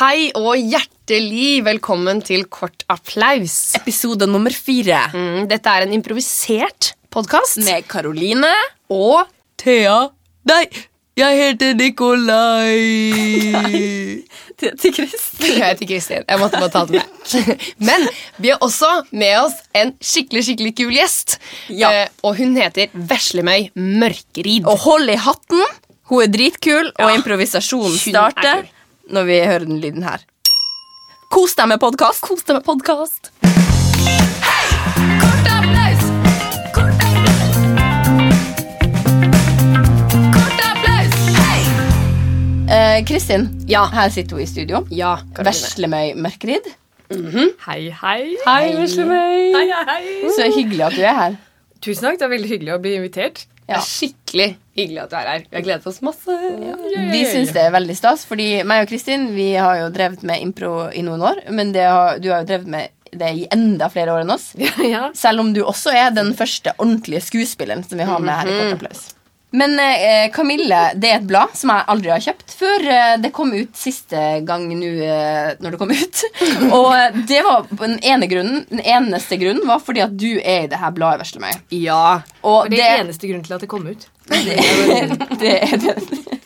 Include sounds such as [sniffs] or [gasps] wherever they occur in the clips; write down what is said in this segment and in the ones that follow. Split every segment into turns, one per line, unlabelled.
Hei og hjertelig velkommen til Kort applaus.
Episode nummer fire
Mm, Dette er en improvisert podkast.
med Karoline.
Og
Thea. Nei, jeg heter [laughs] Nikolai. Det heter Kristin.
jeg heter Kristin. Jeg måtte bare ta det med. [laughs] Men vi har også med oss en skikkelig skikkelig kul gjest.
Ja.
Eh, og hun heter Veslemøy Mørkerid.
Og hold i hatten. Hun er dritkul, og improvisasjonen
Hun er
starter
kul.
når vi hører den lyden her. Kos deg med podkast. Kos deg med podkast. Eh, Kristin,
Ja.
her sitter hun i studio.
Ja, Karoline.
Veslemøy Mørkrid.
Hei, hei.
Hei, Veslemøy.
Hei, hei.
Så hyggelig at du er her.
Tusen takk, det er veldig hyggelig å bli invitert.
Det
Ja.
er skikkelig hyggelig at du er her. Vi har gledet oss masse.
Vi syns det er veldig stas, fordi meg og Kristin vi har jo drevet med impro i noen år. Men det har, du har jo drevet med det i enda flere år enn oss.
Ja.
Selv om du også er den første ordentlige skuespilleren som vi har med her i
Mhm.
Kort applaus. Men eh, Kamille, det er et blad som jeg aldri har kjøpt før eh, det kom ut siste gang nå eh, når det kom
[laughs]
ut. Og eh, det var på den ene grunnen. Den eneste grunnen var fordi at du er i det her bladet, Veslemøy.
Ja.
Og
Det er det eneste grunnen til at det kom ut.
det er det.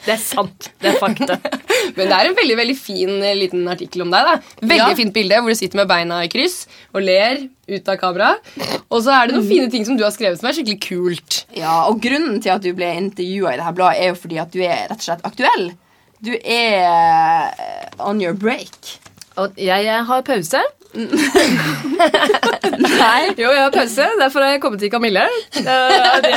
Det er sant. Det er fakta.
[laughs] Men det er en veldig veldig fin eh, liten artikkel om deg. da Veldig
Ja.
fint bilde hvor du sitter med beina i kryss og ler ut av kamera. Og så er det noen fine ting som du har skrevet som er skikkelig kult.
Ja, og grunnen til at du ble intervjua i det her bladet, er jo fordi at du er rett og slett aktuell. Du er eh, on your break.
Og jeg, eh, har pause.
Nei.
[laughs] Jo, jeg har pause. Derfor har jeg kommet til Kamille. Eh, det,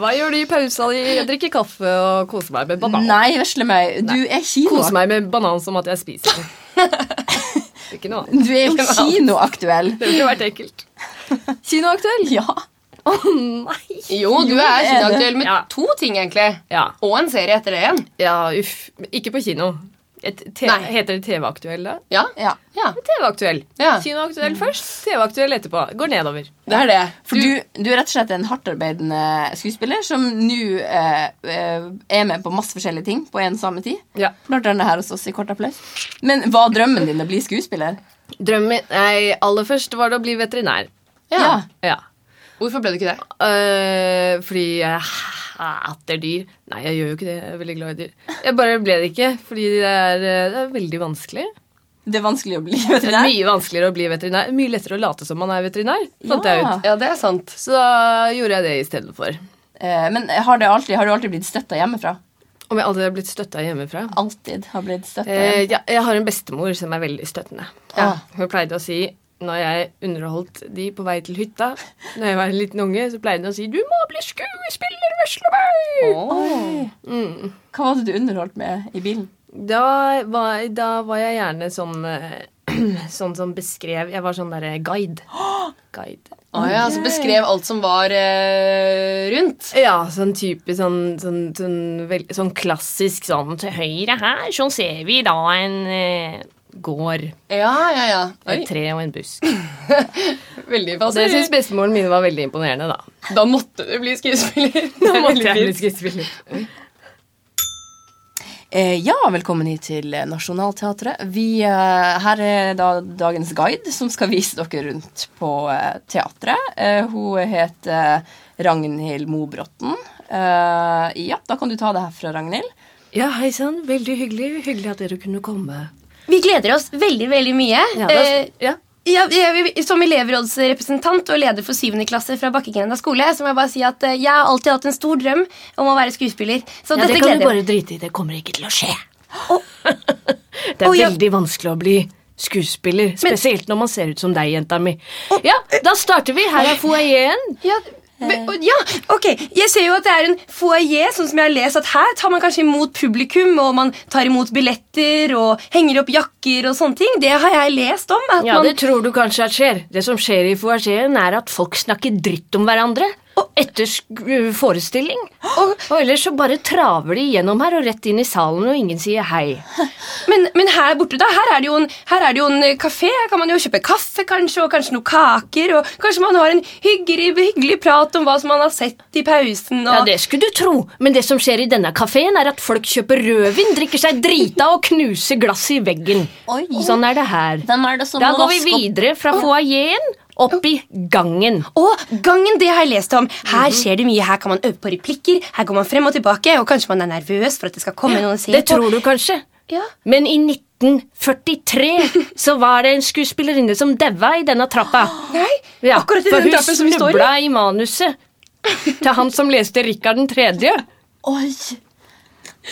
hva gjør du i pausa di? Jeg drikker kaffe og koser meg med banan.
Nei, vesle meg. Du er
Koser
kino.
meg med banan som at jeg spiser den. [laughs] Ikke noe annet.
Du er jo kinoaktuell.
Det ville vært ekkelt.
Kinoaktuell? Ja.
Å nei.
Jo, du
Jo,
er
det er
kinoaktuell med
Ja.
to ting, egentlig.
Ja.
Og en serie etter det igjen.
ja, uff. Ikke på kino. Et, te,
Nei.
heter det TV-aktuell da?
Ja,
ja.
ja
TV-aktuell. Mm.
Ja.
Kinoaktuell først, TV-aktuell etterpå. Går nedover.
det er det.
For du, du er rett og slett en hardtarbeidende skuespiller som nå eh, eh, er med på masse forskjellige ting på en samme tid.
Ja.
Blant annet her hos oss i Kort applaus. Men var drømmen din å bli skuespiller?
Drømmen min Nei, aller først var det å bli veterinær.
Ja.
Ja.
Ja.
Hvorfor ble du ikke det?
Øh, fordi jeg hater dyr. Nei, jeg gjør jo ikke det. Jeg er veldig glad i dyr. Jeg bare ble det ikke, fordi det er, øh, det er veldig vanskelig.
Det er vanskelig å bli
Det er
veterinær.
mye vanskeligere å bli veterinær. Mye lettere å late som man er veterinær, fant jeg
Ja.
ut.
Ja, det er sant.
Så da gjorde jeg det istedenfor.
Eh, men har, det alltid, har du alltid blitt støtta hjemmefra?
Om jeg aldri har blitt støtta hjemmefra?
alltid har blitt støtta.
Eh, ja, jeg har en bestemor som er veldig støttende.
Ja.
Hun pleide å si når jeg underholdt de på vei til hytta Når jeg var en liten unge, så pleide hun å si 'Du må bli skuespiller, veslemøy'! Mm.
Hva var det du underholdt med i bilen?
Da, var- da var jeg gjerne sånn eh, [clears throat] Sånn som beskrev Jeg var sånn derre guide. guide.
Å ja, så beskrev alt som var eh, rundt.
Ja, sånn type sånn, sånn, sånn, vel- sånn klassisk sånn Til høyre her, sånn ser vi da en eh, gård.
Ja, ja, ja. Oi,
Et tre og en busk.
veldig fascinerende.
Og det syns
bestemoren
bestemoren min var veldig imponerende, da.
Da måtte du bli skuespiller.
Det [laughs] er
Veldig
veldig
fint.
fint.
Eh, ja, velkommen hit til Nationaltheatret. Vi, eh, her er da dagens guide som skal vise dere rundt på eh, teatret. Eh, hun heter eh, Ragnhild Mobråten. Eh, ja, da kan du ta det her fra Ragnhild.
Ja, hei sann. Veldig hyggelig. Hyggelig at dere kunne komme.
Vi gleder oss veldig, veldig mye.
Ja,
Eh,
det, ja.
ja, jeg- jeg- som elevrådsrepresentant og leder for 7. klasse fra Bakkegrenda skole så må jeg bare si at eh, jeg har alltid hatt en stor drøm om å være skuespiller. Så
ja,
dette
det kan du
gleder jeg
bare drite i. Det kommer ikke til å skje. [laughs] det er
Å, ja.
veldig vanskelig å bli skuespiller. Spesielt når man ser ut som deg, jenta mi. Ja, da starter vi. Her er foajeen.
Ja,
Eh.
men- og- ja, ok. Jeg ser jo at det er en foajé, sånn som jeg har lest, at her tar man kanskje imot publikum, og man tar imot billetter og henger opp jakker og sånne ting. Det har jeg lest om. At
Ja,
man,
det tror du kanskje at skjer. Det som skjer i foajeen, er at folk snakker dritt om hverandre. og ettersk- forestilling. Og, og ellers så bare traver de gjennom her og rett inn i salen, og ingen sier hei.
Men, men her borte da, her er det jo en, her er det jo en eh, kafé. Her kan man jo kjøpe kaffe kanskje, og kanskje noen kaker. Og kanskje man har en hyggelig, hyggelig prat om hva som man har sett i pausen. Og...
Ja, det skulle du tro, men det som skjer i denne kafeen, er at folk kjøper rødvin, drikker seg drita og knuser glass i veggen.
Oi.
Sånn er det her.
Hvem er det som
Da går vi
rasker opp-
videre fra foajeen opp i gangen.
Og gangen det har jeg lest om.
Mhm.
Her skjer det mye, her kan man øve på replikker, her går man frem og tilbake, og kanskje man er nervøs for at det skal komme noen og se
Det
på.
tror du kanskje.
Ja.
Men i
[laughs]
1943 så var det en skuespillerinne som daua i denne trappa.
Nei,
Ja,
akkurat i
for
den
hun
trappen som vi står i.
snubla i manuset til han som leste Rikard 3.
Oi!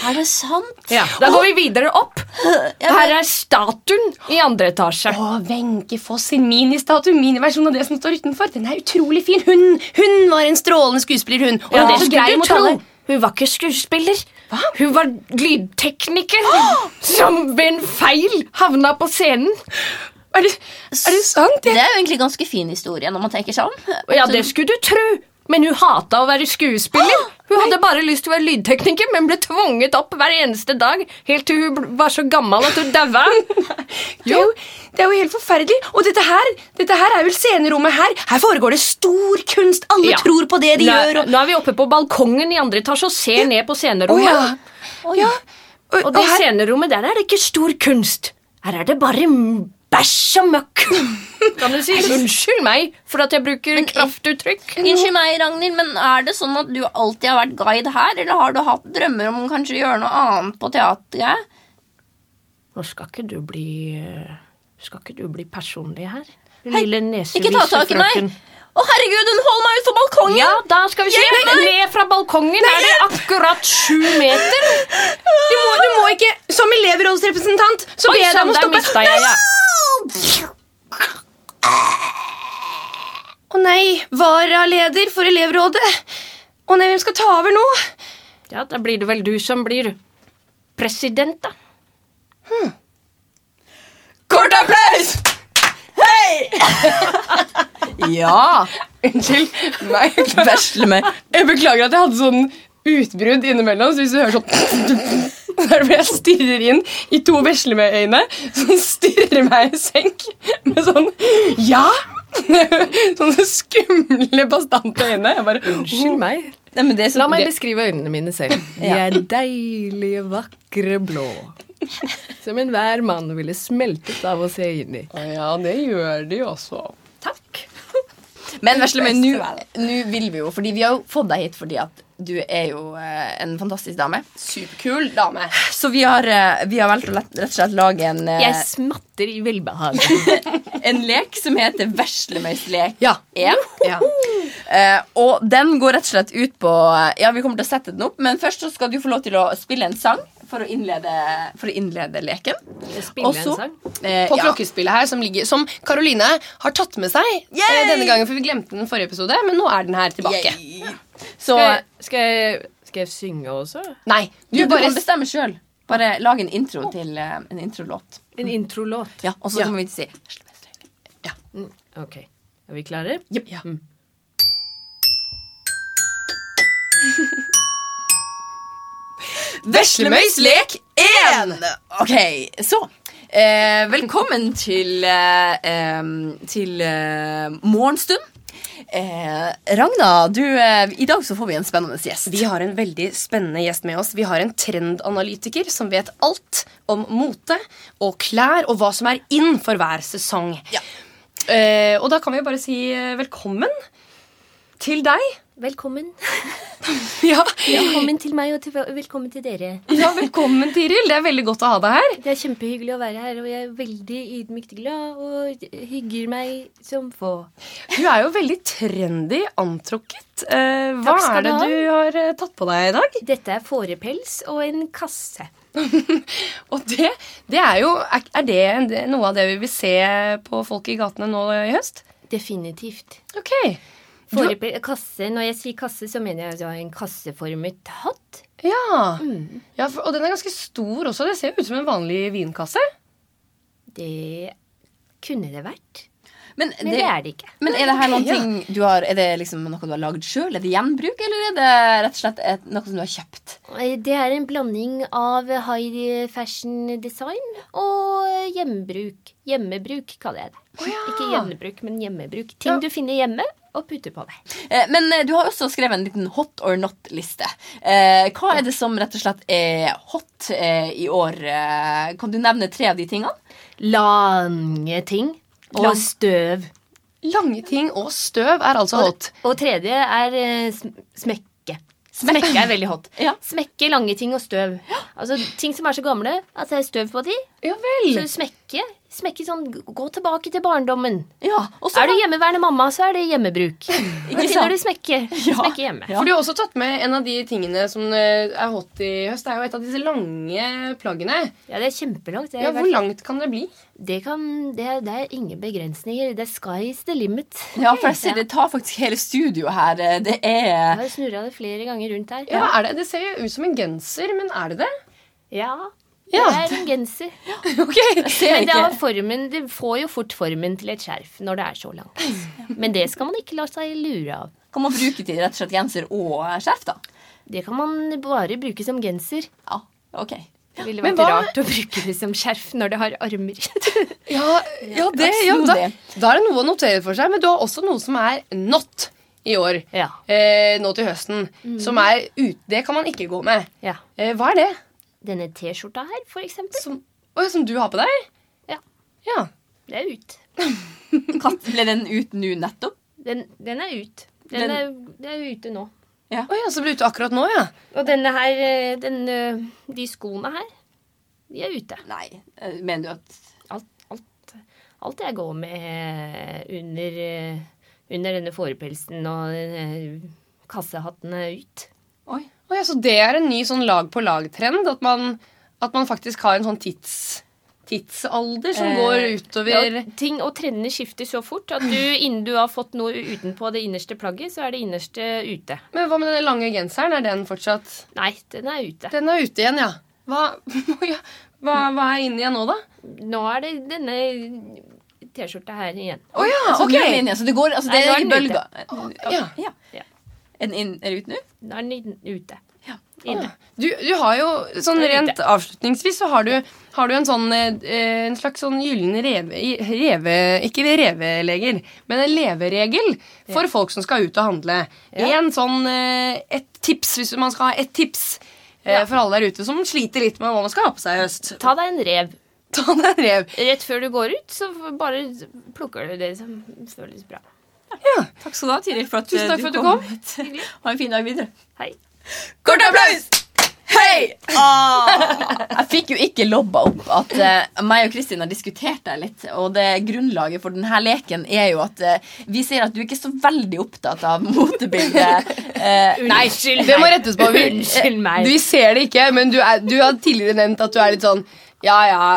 Er det sant?
Ja, da går vi videre opp.
Jeg
Her
bare-
er statuen i andre etasje.
Å, Wenche Foss sin ministatue, miniversjon av det som står utenfor. Den er utrolig fin. Hun, hun var en strålende skuespiller, hun. Og
Ja,
hun var
det
så grei
skulle du
mot
tro.
alle.
Hun var ikke skuespiller. Hun var lydtekniker som ved en feil havna på scenen.
Er det, er det sant?
Det
Jeg,
er jo egentlig ganske fin historie når man tenker sånn. seg om.
Og Ja, det skulle du tro. Men hun hata å være skuespiller. Hun hadde bare lyst til å være lydtekniker, men ble tvunget opp hver eneste dag helt til hun bl- var så gammel at hun daua.
[laughs] det, er jo, det er jo helt forferdelig. Og dette her, dette her er vel scenerommet her. Her foregår det stor kunst. Alle
Ja.
tror på det de
Nå,
gjør. Og,
nå er vi oppe på balkongen i andre etasje og ser ned på
Å,
scenerommet.
ja. ja. Og, og
Og det
her,
scenerommet der er det ikke stor kunst. Her er det bare m- bæsj og møkk. [laughs] Kan du si unnskyld meg for at jeg bruker kraftuttrykk?
Unnskyld meg, Ragnhild, men er det sånn at du alltid har vært guide her? Eller har du hatt drømmer om kanskje å gjøre noe annet på teatret?
Nå skal ikke du bli eh, Skal ikke du bli personlig her? Lille
Ikke ta tak i meg!
nesevisefrøken.
Å, herregud, hun holder meg ut på balkongen!
Ja, da skal vi se. Ned fra balkongen er det akkurat sju meter.
du, må, du må ikke Som elevrådsrepresentant så
Oi
ber jeg deg om å
sann, der
stoppe.
mista jeg ja.
Å nei, varaleder for elevrådet. Å nei, hvem skal ta over nå?
ja, da blir det vel du som blir president, da.
Kort applaus! Hei! ja.
Unnskyld. Nei,
Vesle meg.
jeg beklager at jeg hadde sånn utbrudd innimellom. Så hvis du hører sånn [laughs] Så er det fordi jeg stirrer inn i to veslemøyøyne som stirrer meg i senk med sånn Ja! [laughs] Sånne skumle, bastante øyne. Jeg bare
Unnskyld meg.
Nei, men det er så-
La meg
det-
beskrive øynene mine selv. [laughs] De
Ja.
er deilige, vakre blå. Som enhver mann ville smeltet av å se inn i.
Å ja, det gjør de jo også.
Takk.
Men vesle meg, nå nå vil vi jo, fordi vi har jo fått deg hit fordi at du er jo eh, en fantastisk dame.
Superkul dame.
Så vi har, eh, vi har valgt å lett, rett og slett lage en, eh,
Jeg smatter i [laughs] velbehag.
en lek som heter Veslemøys lek
Ja.
1. Eh, og den går rett og slett ut på eh, Ja, vi kommer til å sette den opp, men først så skal du få lov til å spille en sang for å innlede, for å innlede leken.
Spille
Og
en
så-
sang?
Eh,
På
ja.
klokkespillet her, som, ligger, som Caroline har tatt med seg
Yay!
eh, denne gangen, for vi glemte den forrige episode, men nå er den her tilbake.
Yay. Så
Skal jeg, skal, jeg, skal jeg synge også?
Nei,
du,
du,
du
bare
kan bestemme sjøl. Bare lag en intro til eh, en introlåt.
En introlåt.
Ja, og så
Ja.
kommer vi til å si Veslemøys lek.
Mm, Ok. Er vi klare?
Ja.
Veslemøys lek 1! Ok, så eh, Velkommen til, eh, em, til eh, morgenstund. Eh, Ragna, du, eh, i dag så får vi en spennende gjest.
Vi har en veldig spennende gjest med oss. Vi har en trendanalytiker som vet alt om mote og klær og hva som er inn for hver sesong.
Ja.
Eh, og da kan vi bare si eh, velkommen til deg. [laughs]
[laughs] Velkommen.
Ja,
Velkommen til meg og til, velkommen til dere.
ja velkommen, Tiril. Det er veldig godt å ha deg her.
Det er kjempehyggelig å være her, og jeg er veldig ydmykt glad og hygger meg som få.
Du er jo veldig trendy antrukket. Eh, hva
Takk skal
er det
du ha.
du har eh, tatt på deg i dag?
Dette er fårepels og en kasse.
Og det, det er jo Er er det en- noe av det vi vil se på folk i gatene nå i høst?
Definitivt.
Ok.
Fårepel, kasse, Når jeg sier kasse, så mener jeg altså en kasseformet hatt.
Ja. ja for, og den er ganske stor også. Det ser jo ut som en vanlig vinkasse.
Det kunne det vært.
Men,
Men det er det ikke.
Men er det her noen ting du har, er det liksom noe du har lagd sjøl? Er det gjenbruk, eller er det rett og slett et, noe som du har kjøpt?
Eh, Det er en blanding av high fashion design og hjemmebruk. Hjemmebruk kaller jeg det. Ikke gjenbruk, men hjemmebruk. Ting du finner hjemme og putter på deg.
Eh, Men eh, du har også skrevet en liten hot or not-liste. Eh, Hva er det som rett og slett er hot eh, i år? Eh, Kan du nevne tre av de tingene?
Lange ting og
Lang-
støv.
Lange ting og støv er altså hot.
Og tredje er eh, sm- smekke. Smekke er veldig hot.
[laughs] Ja.
Smekke, lange ting og støv. Altså Ting som er så gamle at det er støv på de.
Ja vel.
Så smekke, smekke sånn Gå tilbake til barndommen.
Ja, og så
Er du hjemmeværende mamma, så er det hjemmebruk. Da
Ikke
finner
sant?
du smekke. Smekke hjemme.
Ja.
For du har også tatt med en av de tingene som eh, er hot i høst. Det er jo et av disse lange plaggene.
Ja, det er kjempelangt. Det,
Ja,
har
Hvor
vært-
langt kan det bli?
det, kan, det, er- det er ingen begrensninger. Det er sky's the limit.
Ja, for jeg ser det tar faktisk hele studioet her. eh, Det
Jeg
er
har snurra det flere ganger rundt her.
Ja, er det? det ser jo ut som en genser, men er [laughs] det det?
ja. Det
Ja.
er en [laughs] genser.
Jeg ser
Men det, har
ikke.
formen, det får jo fort formen til et skjerf når det er så langt. Men det skal man ikke la seg lure av.
Kan man bruke til rett og slett genser og eh, skjerf, da?
Det kan man bare bruke som genser.
Ja, ok.
Det ville
Men
vært
hva-
rart å bruke det som skjerf når det har armer.
Ja, ja det ja, da, da er det noe å notere for seg. Men du har også noe som er not i år.
[laughs] ja.
Eh, nå til høsten. Som er ut, Det kan man ikke gå med.
Mm. ja.
Eh, hva er det
Denne T-skjorta her, for eksempel.
som, Oi, som du har på deg?
Ja.
ja.
Det er ut.
Katt, ble den ut nå nettopp?
Den, den er ut. Den,
Den-
Er, den er ute nå.
Oi, ja, så ble du ute akkurat nå, ja.
Og denne her, eh, den, eh, de skoene her, de er ute.
Nei, eh, mener du at
Alt, alt, alt jeg går med eh, under, eh, under denne fårepelsen og denne kassehatten er ut.
Oi.
Å ja, så det er en ny sånn lag på lag-trend? At, man- at man faktisk har en sånn tids, tidsalder som
Eh,
går
Ja,
utover
og ting og trendene skifter så fort at du, innen du har fått noe utenpå det innerste plagget, så er det innerste ute.
Men hva med den lange genseren? Er den fortsatt
Nei, den er ute.
Den er ute igjen, ja. Hva, [laughs] Oi, ja. hva, hva er inni igjen nå, da?
Nå er det denne T-skjorta her igjen.
Å ja,
Så
ok!
nå er den inne, så det går altså,
Nei,
Det
nå
er
er
ikke
den ute.
bølger.
Ja.
Ja.
Ja.
Er den inn, er den ut nå?
Nå er den inn- ute.
Ja.
Inne.
Du, du har jo sånn
Det er
rent avslutningsvis så har du, har du en sånn eh, en slags sånn gyllen reve, reve Ikke reveleger, men en leveregel for folk som skal ut og handle.
Ja.
En sånn eh, Et tips, hvis man skal ha et tips eh, for alle der ute som sliter litt med hva man skal ha på seg i høst.
Ta deg en rev.
Ta deg en rev.
Rett før du går ut, så bare plukker du det som føles bra.
Takk skal du ha, Tiril, for at,
Tusen
eh,
takk for at du kom.
[laughs] hit. Ha en fin dag videre.
Hei.
Kort applaus! Hei!
Ah.
[laughs] Jeg fikk jo ikke lobba opp at eh, meg og Kristin har diskutert det litt. Og det grunnlaget for denne leken er jo at eh, vi ser at du ikke er så veldig opptatt av
[laughs]
motebildet. Eh, nei,
Unnskyld
Det må rettes på. Vi,
Unnskyld meg.
Du ser det ikke, men du, er, du har tidligere nevnt at du er litt sånn Ja, ja,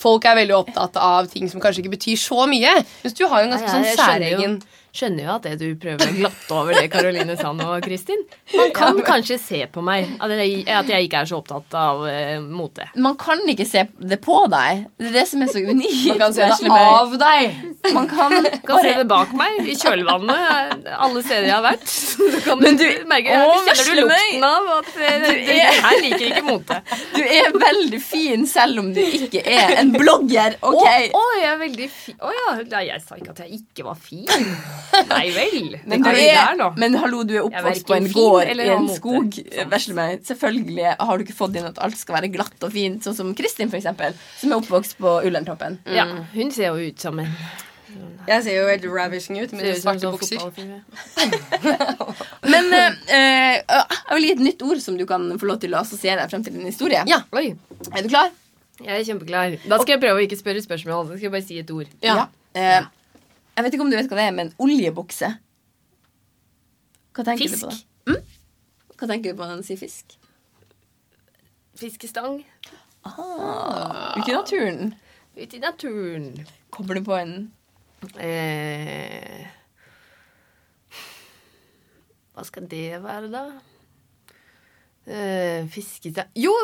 folk er veldig opptatt av ting som kanskje ikke betyr så mye. Mens du har jo en ganske
Ja, ja,
sånn
jeg
særegen
Skjønner jo, skjønner jo at det du prøver å glatte over det Karoline sa nå, Kristin. Man kan kanskje se på meg at jeg, at jeg ikke er så opptatt av eh, mote.
man kan ikke se det på deg. Det er det som er så unikt.
Man kan se
Vesle
det
meg.
av deg.
Man kan
Kan se det bak meg, i kjølvannet, alle steder jeg har vært. [laughs] Så kan
Men
du
du-
merke,
Å,
du kjenner du
vesle meg!
lukten av at eh, det, det,
er-
her liker ikke mote.
Du er veldig fin selv om du ikke er en blogger.
Å,
ok?
å, jeg er veldig fin. Å ja, nei, jeg sa ikke at jeg ikke var fin. Nei vel. Det
Men, du
kan vi der nå.
er, men hallo, du er
Jeg er
oppvokst på
hverken
en
fin
gård
eller
i
sånn har
en
mote.
skog. Vesle meg. Selvfølgelig har du ikke fått inn at alt skal være glatt og fint, sånn som Kristin, for eksempel, som er oppvokst på Ullerntoppen.
Ja, hun ser jo ut som en
Jeg ser jo helt ravishing ut med
ser
de
ut som en
svarte
sånn
bukser.
fotballfyr.
Men eh, eh, jeg vil gi et nytt ord som du kan få lov til å assosiere frem til din historie.
Ja.
Oi.
Er du klar?
Jeg er kjempeklar. Da skal jeg prøve å ikke spørre spørsmål. Da skal jeg bare si et ord.
Ja.
Eh, jeg vet ikke om du vet hva det er, men oljebukse. Hva tenker du
Fisk.
på da? Mm? Hva tenker du på når du sier fisk?
Fiskestang Ah.
Ute i naturen.
ute i naturen.
Kommer du på en
Eh, hva skal det være, da? Eh, fiskestang Jo! [laughs]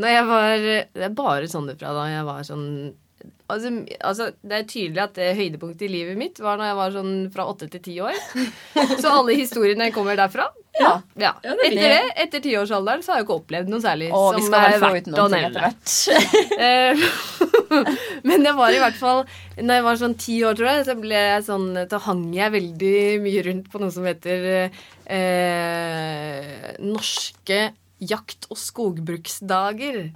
Når jeg var Det er bare sånne fra da jeg var sånn Altså, altså, det er tydelig at det høydepunktet i livet mitt var når jeg var sånn fra åtte til ti
[laughs]
år. Så alle historiene kommer derfra.
Ja.
Ja. Etter det, etter tiårsalderen, så har jeg jo ikke opplevd noe særlig
Og vi skal vel få ut noen ting etter hvert.
Eh, [laughs] Men det var i hvert fall Når jeg var sånn ti år, tror jeg, så ble jeg sånn Da hang jeg veldig mye rundt på noe som heter eh, Norske jakt- og skogbruksdager.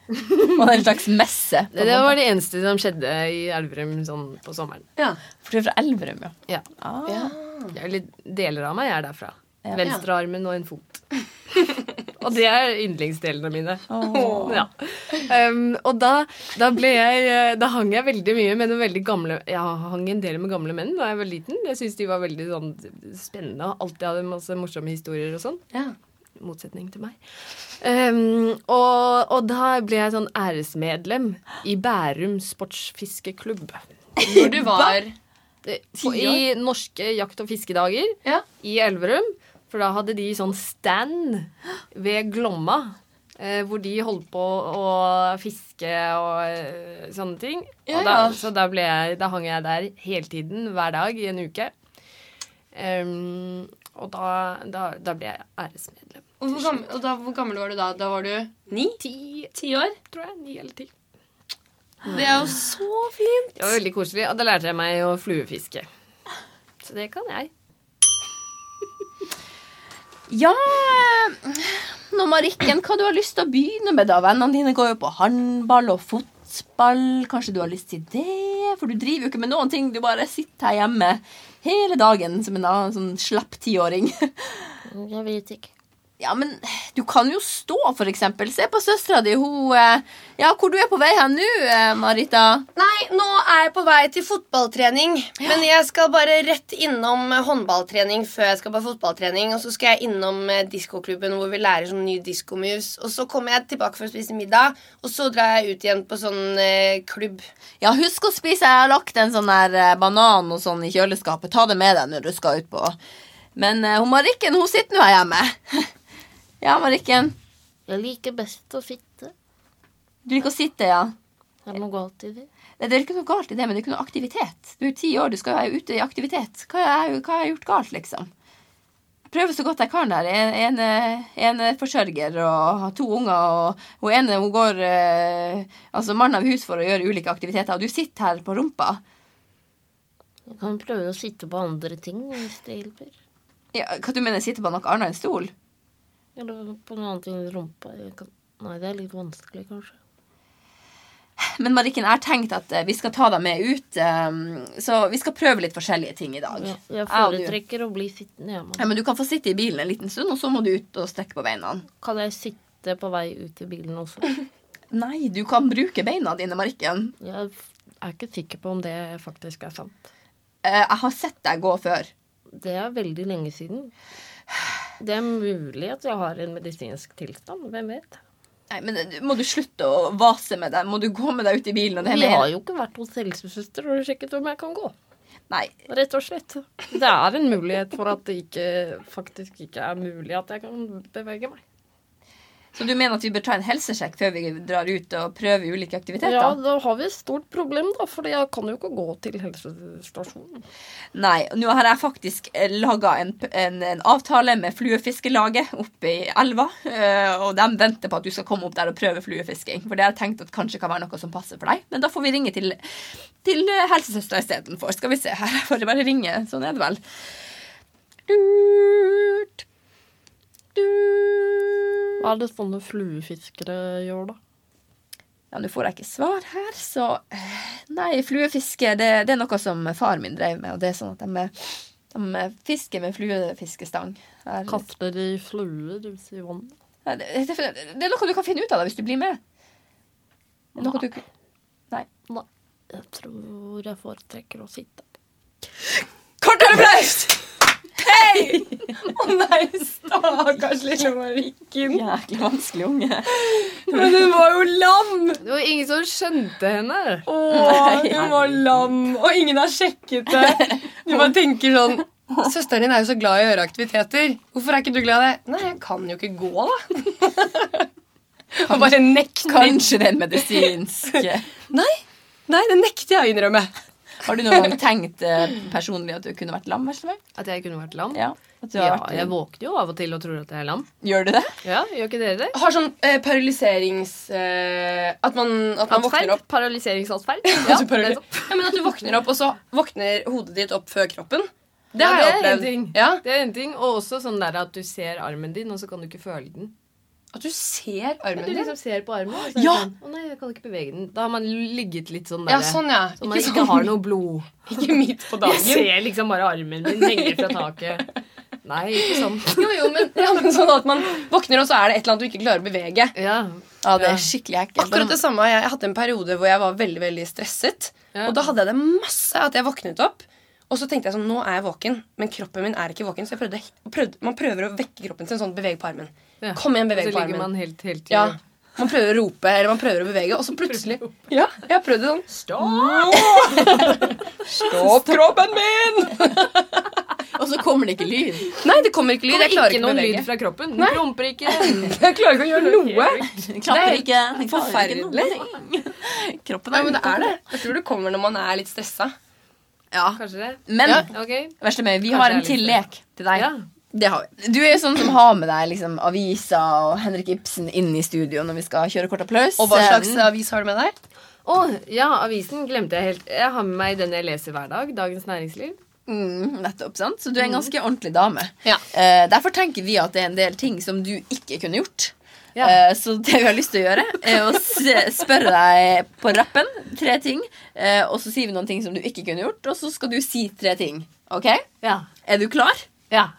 [laughs] Man er en slags messe. på en
Det
måte.
var det eneste som skjedde i Elverum sånn på sommeren.
For du er fra Elverum, ja.
Ja.
Ah.
Jeg er litt, deler av meg er derfra.
Ja.
Venstre armen og en fot. [laughs] og det er yndlingsdelene mine. Ja. Um, og da, da ble jeg eh, Da hang jeg veldig mye med noen veldig gamle Jeg hang en del med gamle menn da jeg var liten. Jeg syntes de var veldig sånn spennende og alltid hadde masse morsomme historier og sånn. I Motsetning til meg. Um, og, og da ble jeg sånn æresmedlem i Bærum sportsfiskeklubb.
Når du var
Det- eh, på- I norske jakt- og fiskedager
Ja.
i Elverum. For da hadde de sånn stand ved Glomma. Eh, hvor de holdt på å fiske og eh, sånne ting.
Ja,
og da,
ja.
Så da, ble jeg, da hang jeg der hele tiden, hver dag i en uke. Ehm, og da, da, da ble jeg æresmedlem.
og hvor, gammel, og da, hvor gammel var du da? Da var du ni?
Ti,
Ti år?
tror jeg. Ni eller ti.
Det er jo så fint!
Det var veldig koselig. Og da lærte jeg meg å fluefiske. Så det kan jeg.
Ja Nå, Marikken, hva du har lyst til å begynne med, da? Vennene dine går jo på håndball og fotball. Kanskje du har lyst til det? For du driver jo ikke med noen ting. Du bare sitter her hjemme hele dagen som en annen sånn slapp tiåring. [laughs]
Jeg vet ikke.
Ja, men du kan jo stå, for eksempel. Se på søstera di. Hun eh, Ja, hvor du er på vei hen nå, eh, Marita?
Nei, nå er jeg på vei til fotballtrening. Men jeg skal bare rett innom eh, håndballtrening før jeg skal på fotballtrening. Og så skal jeg innom eh, diskoklubben hvor vi lærer sånn nye diskomoves. Og så kommer jeg tilbake for å spise middag, og så drar jeg ut igjen på sånn eh, klubb.
Ja, husk å spise. Jeg har lagt en sånn der eh, banan og sånn i kjøleskapet. Ta det med deg når du skal ut på Men eh, hun Marikken, hun sitter nå her hjemme. [laughs] ja, Marikken.
Jeg liker best å sitte.
Du liker å sitte, ja.
Er det noe galt i det?
Nei, Det er ikke noe galt i det, men det er ikke noe aktivitet. Du er jo ti år, du skal jo være ute i aktivitet. Hva har jeg, hva har jeg gjort galt, liksom? Jeg prøver så godt jeg kan der. En, en, eh, en er forsørger og har to unger, og hun ene hun går eh, altså mann av hus for å gjøre ulike aktiviteter, og du sitter her på rumpa.
Jeg kan prøve å sitte på andre ting hvis det hjelper.
Ja, hva du mener, sitter på noe annet enn stol?
Eller på noe annet enn rumpa. Jeg kan... Nei, det er litt vanskelig, kanskje.
Men Marikken, jeg har tenkt at eh, vi skal ta deg med ut, eh, så vi skal prøve litt forskjellige ting i dag.
Ja, jeg
og du.
foretrekker å bli sittende hjemme.
Ja, men Du kan få sitte i bilen en liten stund, og så må du ut og strekke på beina.
Kan jeg sitte på vei ut i bilen også?
Nei, du kan bruke beina dine, Marikken.
Jeg
Jeg er ikke sikker på om det faktisk er sant.
Eh, Jeg har sett deg gå før.
Det er veldig lenge siden. Det er mulig at jeg har en medisinsk tilstand. Hvem vet?
Nei, men eh, Må du slutte å vase med deg? Må du gå med deg ut i bilen? Og det
Vi
hele-
har jo ikke vært hos helsesøster og sjekket om jeg kan gå.
Nei,
Rett og slett.
Det er en mulighet for at det ikke, faktisk ikke er mulig at jeg kan bevege meg.
Så du mener at vi bør ta en helsesjekk før vi drar ut og prøver ulike aktiviteter?
Ja, da har vi et stort problem, da, for jeg kan jo ikke gå til helsestasjonen.
Nei, nå har jeg faktisk laga en, p- en, en avtale med fluefiskelaget oppe i elva. eh, Og de venter på at du skal komme opp der og prøve fluefisking. For det har jeg tenkt at kanskje kan være noe som passer for deg. Men da får vi ringe til, til eh, helsesøstera istedenfor. Skal vi se her. Jeg får bare ringe. Sånn er det vel. Durt. Durt.
Hva er det sånne fluefiskere gjør, da?
Ja, nå får jeg ikke svar her, så eh, Nei, fluefiske, det, det er noe som far min drev med, og det er sånn at de, de fisker med fluefiskestang. Det er-
Kaster de fluer ut i vannet?
Nei, det, det, det er noe du kan finne ut av da, hvis du blir med. Det er noe du
Jeg tror jeg foretrekker å sitte.
Kort applaus! Hei!
[laughs] Å nei, stakkars lille Marikken.
Jæklig vanskelig unge.
Men hun var jo lam!
Det var ingen som skjønte henne. [laughs]
Å, hun var lam, og ingen har sjekket det. Du bare tenker sånn Søsteren din er jo så glad i å gjøre aktiviteter. Hvorfor er ikke du glad i det? Nei, jeg kan jo ikke gå, da. Og bare nekter.
Kanskje det er en medisinsk
Nei, Nei, det nekter jeg å innrømme.
Har du noen gang tenkt eh, personlig at du kunne vært lam? Veslemøy?
At jeg kunne vært lam?
Ja. At du har
Ja,
vært,
jeg våkner jo av og til og tror at jeg er lam.
Gjør du det?
Ja, Gjør ikke dere det?
Har sånn eh, paralyserings... Eh, at man, at man våkner opp.
[laughs]
Paralyseringsatferd.
Ja,
paraly-
nettopp.
Ja, men at du våkner opp, og så våkner hodet ditt opp før kroppen. Det
Ja,
har jeg
det er en
opplevd.
ting.
Ja,
Det er en ting, Og også sånn der at du ser armen din, og så kan du ikke føle den.
At du ser
Men
armen
du
din.
liksom ser på armen, og så er
Ja!
det sånn Å nei, jeg kan ikke bevege den. Da har man ligget litt sånn
Ja,
der,
sånn, ja.
Så man
Ikke,
ikke
sånn,
har noe blod.
[laughs] ikke midt på
Jeg
dagen.
ser liksom bare armen min henge fra taket. Nei, ikke sånn.
Jo, jo, men, ja, men sånn at man våkner, og så er det et eller annet du ikke klarer å bevege.
Ja.
Ja, det
Ja.
er skikkelig ekkelt.
Akkurat det samme. har Jeg, jeg hadde en periode hvor jeg var veldig veldig stresset.
Ja.
Og da hadde jeg det masse at jeg våknet opp. Og så tenkte jeg sånn, nå er jeg våken, men kroppen min er ikke våken. Så jeg prøvde, prøvde, man prøver å vekke kroppen sin sånn, beveg på armen.
Ja.
Kom igjen,
Og så
beveg på
ligger
armen.
man helt, helt
Ja, man prøver å rope, eller man prøver å bevege, og så plutselig Ja, jeg prøvde sånn.
Stopp!
Stopp kroppen min!
Og så kommer det ikke lyd.
Nei, det kommer ikke lyd. Jeg klarer
Ikke
ikke å
noen lyd
bevege.
fra kroppen. Du promper ikke.
[laughs] Jeg klarer ikke å gjøre noe.
Klapper
helt
ikke. Den klarer ikke
forferdelig.
noen ting. Kroppen
Nei,
er
men det
ute.
er det. Jeg tror det kommer når man er litt stressa.
Ja.
Kanskje det.
Men
Ja.
Ok.
Veslemøy, vi
Kanskje
har
jeg
en
er
til
litt-
lek til deg.
Ja.
Det har vi.
Du er jo sånn som har med deg liksom, aviser og Henrik Ibsen inn i studio når vi skal kjøre kort applaus.
Og hva slags avis har du med deg?
Å, ja, avisen glemte jeg helt. Jeg har med meg den jeg leser hver dag. Dagens Næringsliv.
Mm, nettopp, sant? Så du er en ganske ordentlig dame.
Ja.
Eh, derfor tenker vi at det er en del ting som du ikke kunne gjort.
Ja.
Eh, så det vi har lyst til å gjøre, er å se- spørre deg på rappen tre ting. eh, og så sier vi noen ting som du ikke kunne gjort, og så skal du si tre ting. Ok?
Ja.
Er du klar?
ja.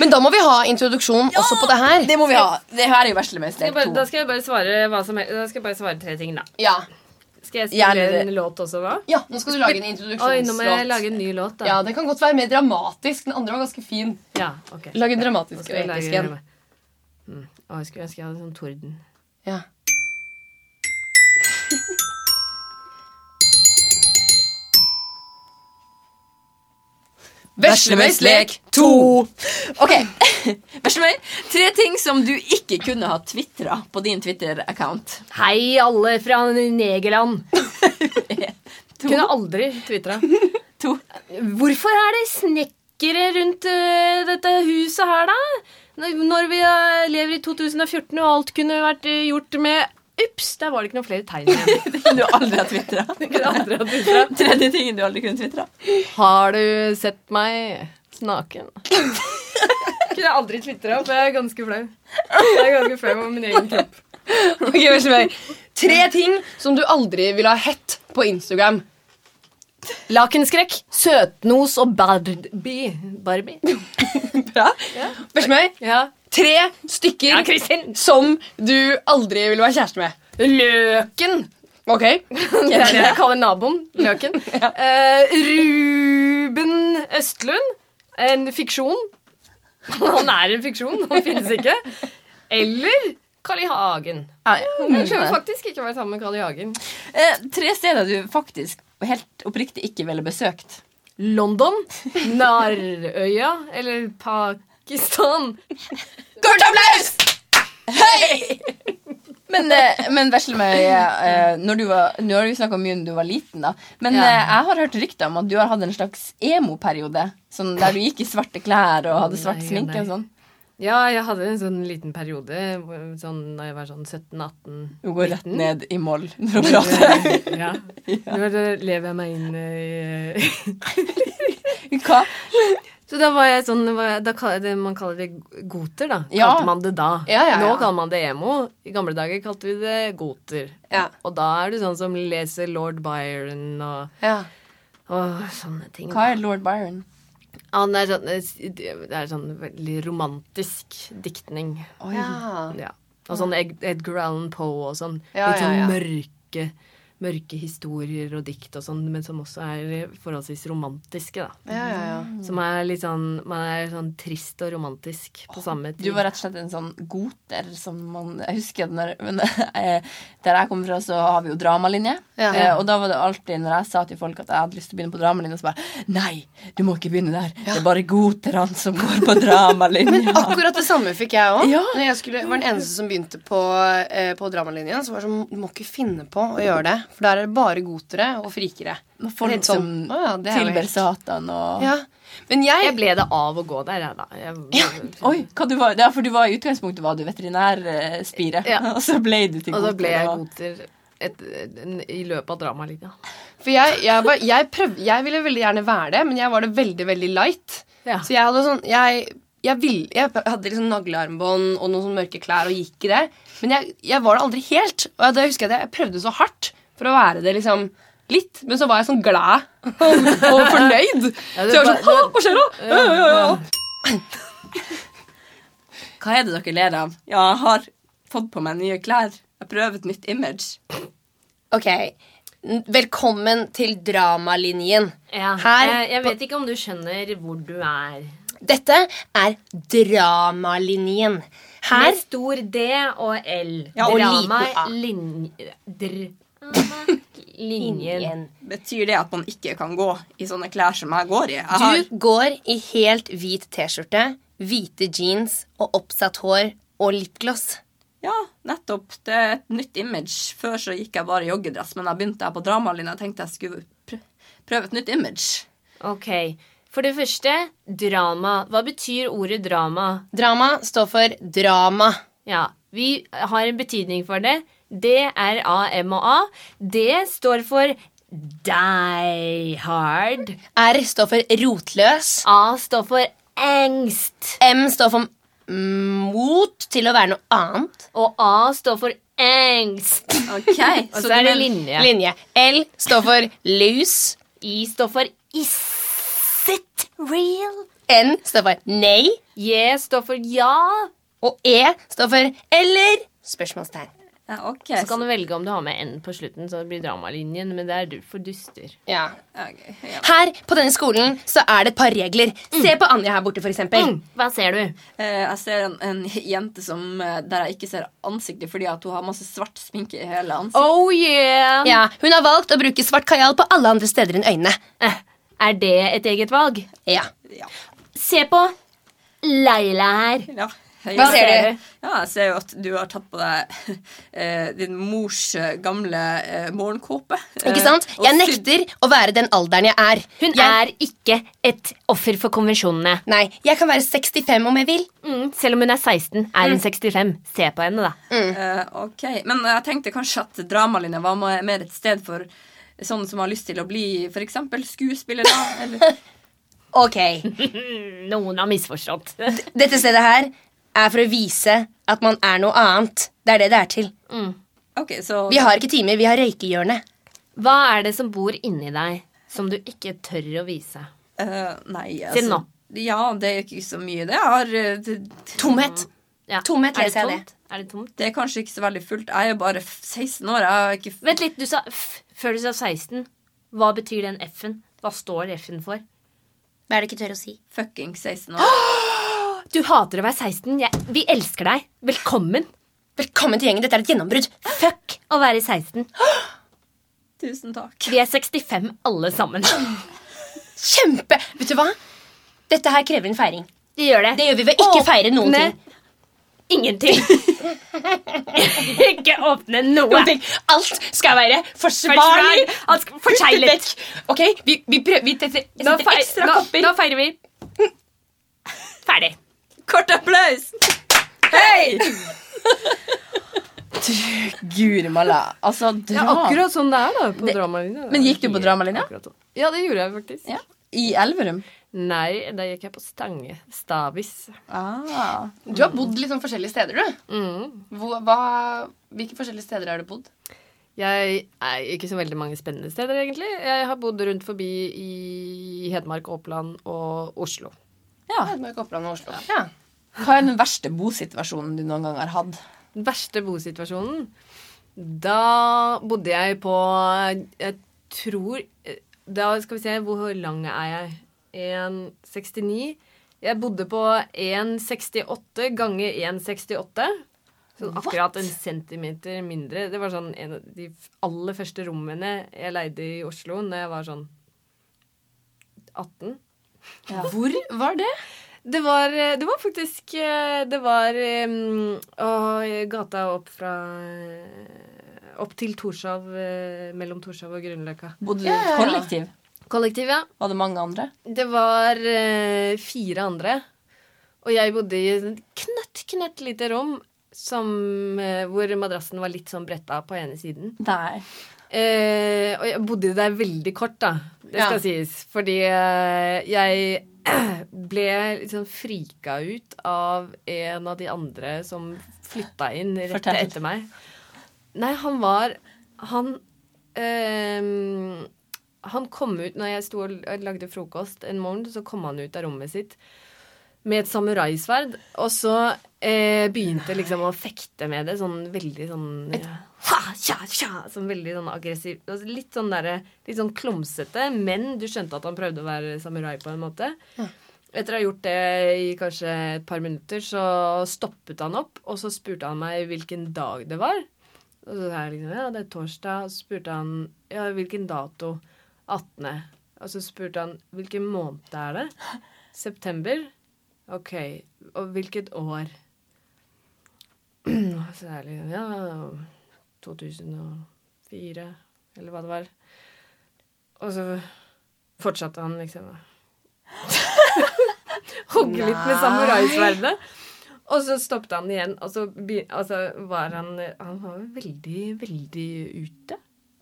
Men da må vi ha introduksjon også på det her.
Det må vi ha. Det her er jo Veslemester
Skal jeg bare,
2.
da skal jeg bare svare hva som helst. Da skal jeg bare svare tre ting, da.
Ja.
Skal jeg
Gjerne
spille
det.
en låt også, hva?
Ja, nå skal du lage en
Oi, nå må jeg
introduksjonslåt.
lage en ny låt, da.
Ja, det kan godt være mer dramatisk. Den andre var ganske fin.
Ja, ok.
Lag en
Nå
dramatisk
skal
og
jeg
episk
lage
en.
en. Mm. Å, jeg skulle ønske jeg hadde sånn torden. [laughs]
Ja. Veslemøys lek to.
[laughs] Ok. Veslemøy, tre ting som du ikke kunne ha tvitra på din Twitter-account. [laughs]
Hei, alle fra [laughs] Negerland!
To.
Kunne aldri [laughs] tvitra.
To.
Hvorfor er det snekkere rundt eh, dette huset her, da? Når- Når vi eh, lever i 2014 og alt kunne vært eh, gjort med Ups, der var det ikke noen flere tegn [laughs] igjen.
Det kunne du aldri ha tvitra.
Aldri ha twittra.
Tredje tingen du aldri kunne tvitra.
Har du sett meg naken? [laughs] Kunne aldri tvitra, for jeg er ganske flau. Jeg er ganske flau over min egen kropp.
Ok, Veslemøy. Tre ting som du aldri ville ha hett på Instagram.
Lakenskrekk, søtnos og Barbie. Barbie?
Bra. Veslemøy,
Ja.
tre stykker
Ja, Kristin.
som du aldri ville være kjæreste med.
[laughs] Løken.
Ok?
Det er det jeg kaller naboen. Løken. [laughs] Eh, Ruben Østlund. En fiksjon. [laughs] Han er en fiksjon, han finnes ikke. Eller Carl I. Hagen. Jeg skulle faktisk ikke være sammen med Carl I. Hagen.
Mm. Eh, tre steder du faktisk helt oppriktig ikke ville besøkt.
London, Narøya eller Pakistan.
Kort applaus! Hei! Men, eh, men Veslemøy, eh, når du var, nå har du snakka mye om du var liten, da. Men
Ja.
eh, jeg har hørt rykter om at du har hatt en slags emo-periode. Sånn der du gikk i svarte klær og hadde svart
Nei,
sminke og
nei.
sånn.
Ja, jeg hadde en sånn liten periode hvor- sånn, da jeg var sånn 17-18.
Du går rett ned i moll når du prater.
Ja. Nå lever jeg meg inn eh, i
Hva?
Så da var jeg sånn var jeg, da kaller det, Man kaller det goter, da.
Ja.
Kalte man det da.
Ja, ja, ja.
Nå kaller man det emo. I gamle dager kalte vi det goter.
Ja.
Og da er du sånn som leser Lord Byron og,
ja.
og sånne ting.
Hva er lord Byron?
Han er sånn, det er sånn veldig romantisk diktning.
Oi.
Ja. Og sånn Ed, Edgar Allan Poe og sånn.
Ja,
Litt sånn
ja, ja.
mørke, mørke historier og dikt og sånn, men som også er forholdsvis romantiske, da.
Ja, ja, ja.
Som er litt sånn Man er sånn trist og romantisk på samme tid.
Du var rett og slett en sånn goter som man Jeg husker at når, men, eh, der jeg kommer fra, så har vi jo dramalinje.
Ja.
Eh, og da var det alltid når jeg sa til folk at jeg hadde lyst til å begynne på dramalinja, så bare Nei, du må ikke begynne der. Det er bare goterne som går på dramalinja.
Akkurat det samme fikk jeg òg.
Ja.
Når jeg skulle, var den eneste som begynte på, eh, på dramalinjen. Så var det sånn, Du må ikke finne på å gjøre det, for der er det bare gotere og frikere.
Og Folk
Litt
som
sånn, «Å ja, det er jo
tilber
helt-
Satan og
Ja. Men jeg
Jeg ble det av å gå der, jeg, da. Jeg,
Oi, hva du var, ja, for du var i utgangspunktet var du veterinærspire,
Ja.
[laughs] og så ble du til
og da ble
goter,
jeg
og-
goter et, en- i løpet av dramalinja.
For jeg, jeg, var, jeg, prøv, jeg ville veldig gjerne være det, men jeg var det veldig, veldig light.
Ja.
Så jeg hadde sånn Jeg, jeg, vil, jeg hadde liksom naglearmbånd og noen sånne mørke klær og gikk i det. Men jeg, jeg var det aldri helt. Og jeg, da husker jeg at jeg prøvde så hardt for å være det liksom litt. Men så var jeg sånn glad og fornøyd. så jeg var sånn Å, hva skjer da? Ja, ja, ja, ja.
Hva er det dere ler av? Ja, jeg har fått på meg nye klær. Jeg prøver et nytt image.
Ok. Velkommen til Dramalinjen.
Ja.
Her
jeg, jeg vet ikke om du skjønner hvor du er.
Dette er Dramalinjen.
Med stor D og L.
Ja, og
Drama
liten A.
linje... Dr... Linjen.
Linjen.
Betyr det at man ikke kan gå i sånne klær som jeg går i? Jeg har,
Du går i helt hvit T-skjorte, hvite jeans og oppsatt hår og lipgloss.
ja, nettopp. Det er et nytt image. Før så gikk jeg bare i joggedress, men da begynte jeg på dramalinja og tenkte jeg skulle pr prøve et nytt image.
Ok. For det første, drama. Hva betyr ordet drama?
Drama står for drama.
Ja, vi har en betydning for det. D-R-A-M-A. Det står for die hard.
R står for rotløs.
A står for angst.
M står for mot til å være noe annet.
Og A står for angst.
[laughs]
Ok,
Og så er det
vil-
linje.
Linje. L står for loose.
I står for is it real?
N står for nei.
J står for ja.
Og E står for eller. Spørsmålstegn.
Ja, ok.
Så kan du velge om du har med N på slutten, så det blir dramalinjen. Men det er du for duster.
Ja.
så- ok, ja.
Her på denne skolen så er det et par regler. Se på Anja her borte, for eksempel.
Mm.
Hva ser du?
Eh, Jeg ser en, en jente som, eh, der jeg ikke ser ansiktet fordi at hun har masse svart sminke i hele ansiktet.
Oh yeah!
Ja, Hun har valgt å bruke svart kajal på alle andre steder enn øynene.
Eh, Er det et eget valg?
Ja.
Ja.
Se på Leila her.
Ja.
Hva ser du?
Ja, jeg ser jo at du har tatt på deg eh, din mors eh, gamle eh, morgenkåpe. eh,
Ikke sant?
og
Jeg
sydd-
nekter å være den alderen jeg er.
Hun
jeg,
er ikke et offer for konvensjonene.
Nei, jeg kan være 65 om jeg vil.
Mm, selv om hun er 16, er hun 65. Se på henne, da.
Eh, ok, Men jeg tenkte kanskje at dramalinja var ma- mer et sted for sånne som har lyst til å bli f.eks. skuespillere. [laughs] Eller
Ok,
Noen har misforstått.
[laughs] Dette stedet her er for å vise at man er noe annet. Det er det det er til.
Ok, så
Vi har ikke timer, vi har røykehjørne.
Hva er det som bor inni deg som du ikke tør å vise?
eh, Nei,
Til nå.
Ja, det er ikke så mye. Det Jeg har eh, det-
Tomhet.
Ja.
Tomhet,
er det
leser jeg det.
tomt? Er det tomt?
Det er kanskje ikke så veldig fullt. Jeg er jo bare f- 16 år. Jeg har ikke f-
Vent litt, du sa F før du sa 16. Hva betyr den F-en? Hva står F-en for?
Hva er det ikke tør å si?
fucking 16 [gasps] år.
Du hater å være 16. Jeg, vi elsker deg. Velkommen.
Velkommen til gjengen. Dette er et gjennombrudd.
Fuck å være 16.
Tusen takk.
Vi er 65 alle [sniffs] sammen.
Kjempe! Vet du hva? Dette her krever en feiring.
De gjør det.
Det gjør vi ved ikke å feire noen
Åpne
ting.
[sniffs] Ingenting. [laughs] ikke åpne noe.
Noen ting. Alt skal være forsvarlig.
Forsvarlig. Alt skal- Forseglet.
Ok, vi, vi prøver Vi setter
Nå,
setter
feir,
ekstra
nå,
kopper.
nå feirer vi. Ferdig.
Kort applaus! Hei! Guri malla. Altså, dra.
Ja, akkurat sånn det er da på dramalinja.
Men gikk du på dramalinja?
Akkurat sånn. Ja, det gjorde jeg faktisk.
Ja. I Elverum.
Nei, da gikk jeg på Stange. Stavis.
Ah.
Du har bodd litt sånn forskjellige steder, du. Hvor- hva, hvilke forskjellige steder har du bodd?
Jeg er ikke så veldig mange spennende steder, egentlig. Jeg har bodd rundt forbi i Hedmark, Oppland og Oslo.
Ja.
Hedmark, Oppland og Oslo. Ja.
Hva er den verste bosituasjonen du noen gang har hatt?
Den verste bosituasjonen Da bodde jeg på Jeg tror Da skal vi se, hvor lang er jeg? 1,69. Jeg bodde på 1,68 ganger 1,68. Sånn akkurat en centimeter mindre. Det var sånn en av de f- aller første rommene jeg leide i Oslo når jeg var sånn 18.
Hvor var det?
Det var, det var faktisk eh, Det var em, å, gata opp fra eh, Opp til Torshov, eh, mellom Torshov og Grünerløkka.
Bodde du i
Ja, ja, ja.
et kollektiv?
Kollektiv, ja.
Var det mange andre?
Det var eh, fire andre. Og jeg bodde i et knøtt, knøtt lite rom som, eh, hvor madrassen var litt sånn bretta på ene siden.
Nei.
Eh, og jeg bodde der veldig kort, da. Det skal
Ja.
sies. Fordi eh, jeg [clears throat] ble liksom frika ut av en av de andre som flytta inn rett
Fortell.
etter meg. Nei, han var Han eh, Han kom ut når jeg sto og lagde frokost en morgen, så kom han ut av rommet sitt med et samuraisverd. Og så eh, begynte liksom å fekte med det, sånn veldig sånn eh, ha, tja, tja, Sånn veldig sånn aggressiv. altså Litt sånn derre Litt sånn klumsete, men du skjønte at han prøvde å være samurai på en måte. Etter å ha gjort det i kanskje et par minutter, så stoppet han opp, og så spurte han meg hvilken dag det var. Og så sa jeg liksom ja, det er torsdag. Og så spurte han ja, hvilken dato. 18. Og så spurte han hvilken måned er det? September? Ok. Og hvilket år? Og så er det liksom ja 2004, eller hva det var. Og så fortsatte han liksom [laughs] å hogge litt med samuraisverdet. Og så stoppet han igjen, og så, be, og så var han Han var veldig, veldig ute.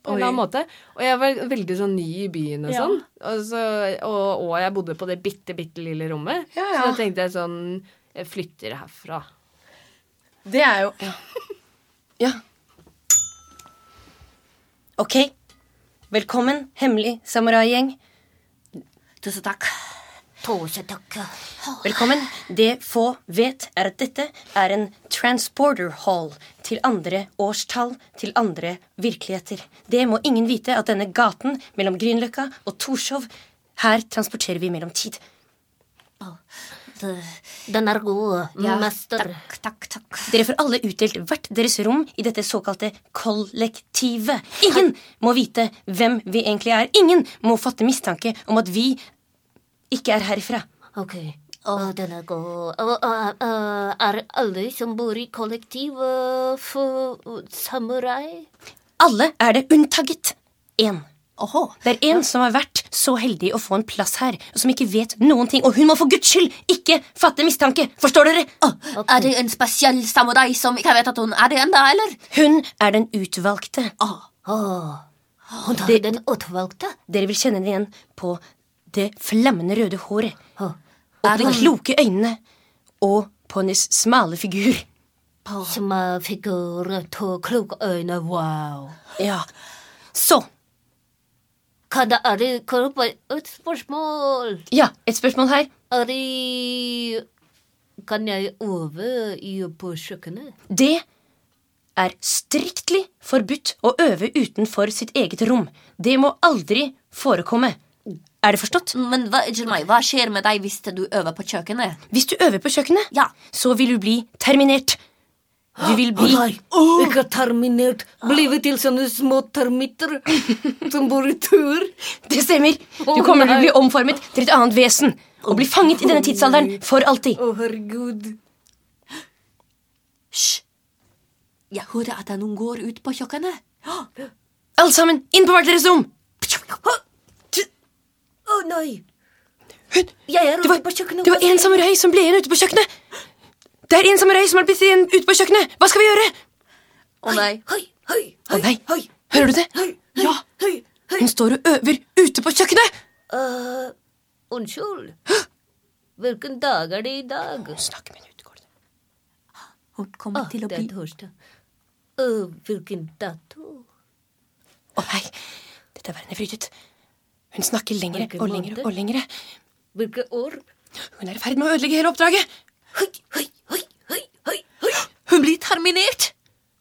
På en eller annen måte. Og jeg var veldig sånn ny i byen og
Ja.
sånn. Og, så, og, og jeg bodde på det bitte, bitte lille rommet.
Ja, ja.
Så da tenkte jeg sånn Jeg flytter herfra.
Det er jo ja.
Ja. Ok. Velkommen, hemmelig samuraigjeng.
Tusen takk.
Velkommen. Det få vet, er at dette er en transporter hall til andre årstall, til andre virkeligheter. Det må ingen vite at denne gaten mellom Grünerløkka og Torshov Her transporterer vi mellom tid.
Den er god, mester.
Mm. Takk, takk, takk. Dere får alle utdelt hvert deres rom i dette såkalte kollektivet. Ingen må vite hvem vi egentlig er. Ingen må fatte mistanke om at vi ikke er herifra.
Ok. Å, den er god. Å, å, å, oh, eh, er alle som bor i kollektiv uh, for samurai?
Alle er det unntaget én.
Åhå.
Det er en som har vært så heldig å få en plass her, og som ikke vet noen ting. Og hun må for guds skyld ikke fatte mistanke! Forstår dere?
Er det en spesiell samurai som ikke vet at hun er det ennå, eller?
Hun er den utvalgte.
Ah,
Å, hun er
Det-
den utvalgte.
Dere vil kjenne henne igjen på det flammende røde håret
Å,
og de kloke øynene og på hennes smale figur.
Som er figur to kloke øyne, wow.
Ja. Så
Hva det er det Kan du bare et spørsmål?
Ja, et spørsmål her.
Er det Kan jeg øve i, på kjøkkenet?
Det er striktlig forbudt å øve utenfor sitt eget rom. Det må aldri forekomme. Er det forstått?
Men hva, unnskyld meg, hva skjer med deg hvis du øver på kjøkkenet?
Hvis du øver på kjøkkenet,
Ja.
så vil du bli terminert. Du vil bli
Ikke terminert. Blive til sånne små termitter som bor i tur.
[laughs] Det stemmer. Du kommer til å bli omformet til et annet vesen og bli fanget i denne tidsalderen for alltid.
Å, herregud.
Hysj. Jeg hører at noen går ut på kjøkkenet.
Alle sammen, inn på hvert deres rom!
Å nei.
Hun-
Jeg er
Det var,
ute på kjøkkenet.
det var en samurai som ble igjen ute på kjøkkenet. Det er en samurai som har blitt igjen ute på kjøkkenet. Hva skal vi gjøre?
Å nei.
Høy, høy,
Å
høy,
nei,
høy,
hører du det?
høy, høy,
Ja,
høy, høy.
hun står og øver ute på kjøkkenet.
Eh, unnskyld. Hvilken dag er det i dag?
Hun snakker med en utegård.
Hun kommer
Å,
til å
det er
bli
torsdag. Eh, hvilken dato?
Å nei, dette verden er frydet. Hun snakker lengre og lengre og lengre.
Hvilket år?
Hun er i ferd med å ødelegge hele oppdraget.
Høy, høy, høy, høy, høy, høy.
Hun blir terminert!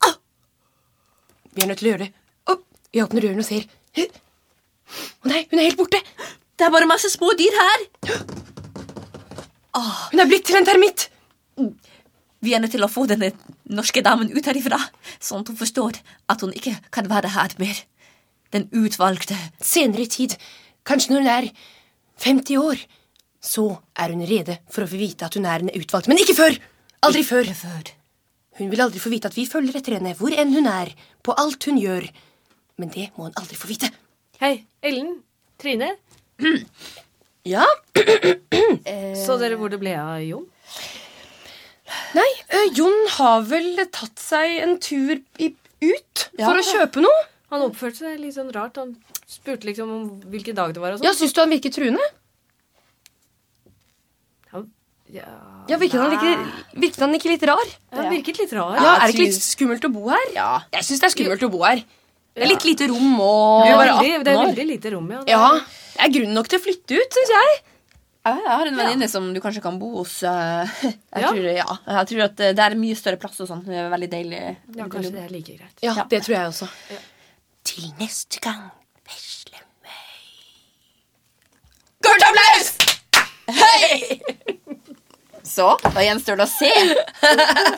Ah.
Vi er nødt til å gjøre det. Å, vi åpner døren og ser. Å nei, hun er helt borte!
Det er bare masse små dyr her!
Hun er blitt til en termitt!
Vi er nødt til å få denne norske damen ut herifra, sånn at hun forstår at hun ikke kan være her mer. Den utvalgte.
Senere i tid, kanskje når hun er 50 år, så er hun rede for å få vite at hun er en utvalgt. Men ikke før! Aldri før.
Før.
Hun vil aldri få vite at vi følger etter henne hvor enn hun er, på alt hun gjør. Men det må hun aldri få vite.
Hei, Ellen. Trine.
Ja? Eh.
Så dere hvor det ble av Jon?
Nei, ø, Jon har vel tatt seg en tur i, ut
Ja.
for å kjøpe noe?
Han oppførte seg litt sånn rart. Han spurte liksom om hvilken dag det var og sånn.
Ja, Syns du han virker truende?
Han, ja.
Ja, virket han, ikke, virket han ikke litt rar?
han virket litt rar.
Ja, Er det ikke litt skummelt å bo her? Ja. Jeg syns det er skummelt å bo her. Det er litt lite rom og
Det er,
Bare
veldig, det er
18 år.
veldig lite rom, ja.
Ja, det er grunn nok til å flytte ut, syns jeg.
Jeg jeg har en venninne som du kanskje kan bo hos. eh, [laughs] Jeg,
Ja.
Tror, ja. jeg tror at eh, det er mye større plass og sånn. Det er veldig deilig.
ja kanskje det er like greit.
Ja, det tror jeg også.
Til neste gang.
Kort applaus! Hei! [laughs] Så, da gjenstår det å se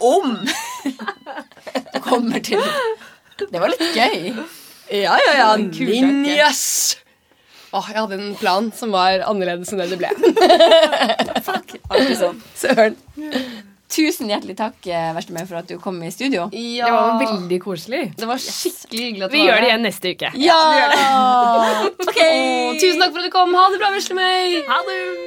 om du kommer til Det var litt gøy.
Ja, ja, ja.
kul tanke.
Ninjas! Åh, jeg hadde en plan som var annerledes enn det det ble.
Alltid sånn.
Søren.
Tusen hjertelig takk eh, Verstemøy, for at du kom i studio.
Det var veldig koselig.
Det var skikkelig hyggelig at
Vi gjør det igjen neste uke.
Ja!
Tusen takk for at du kom. Ha det bra, veslemøy.
Ha det!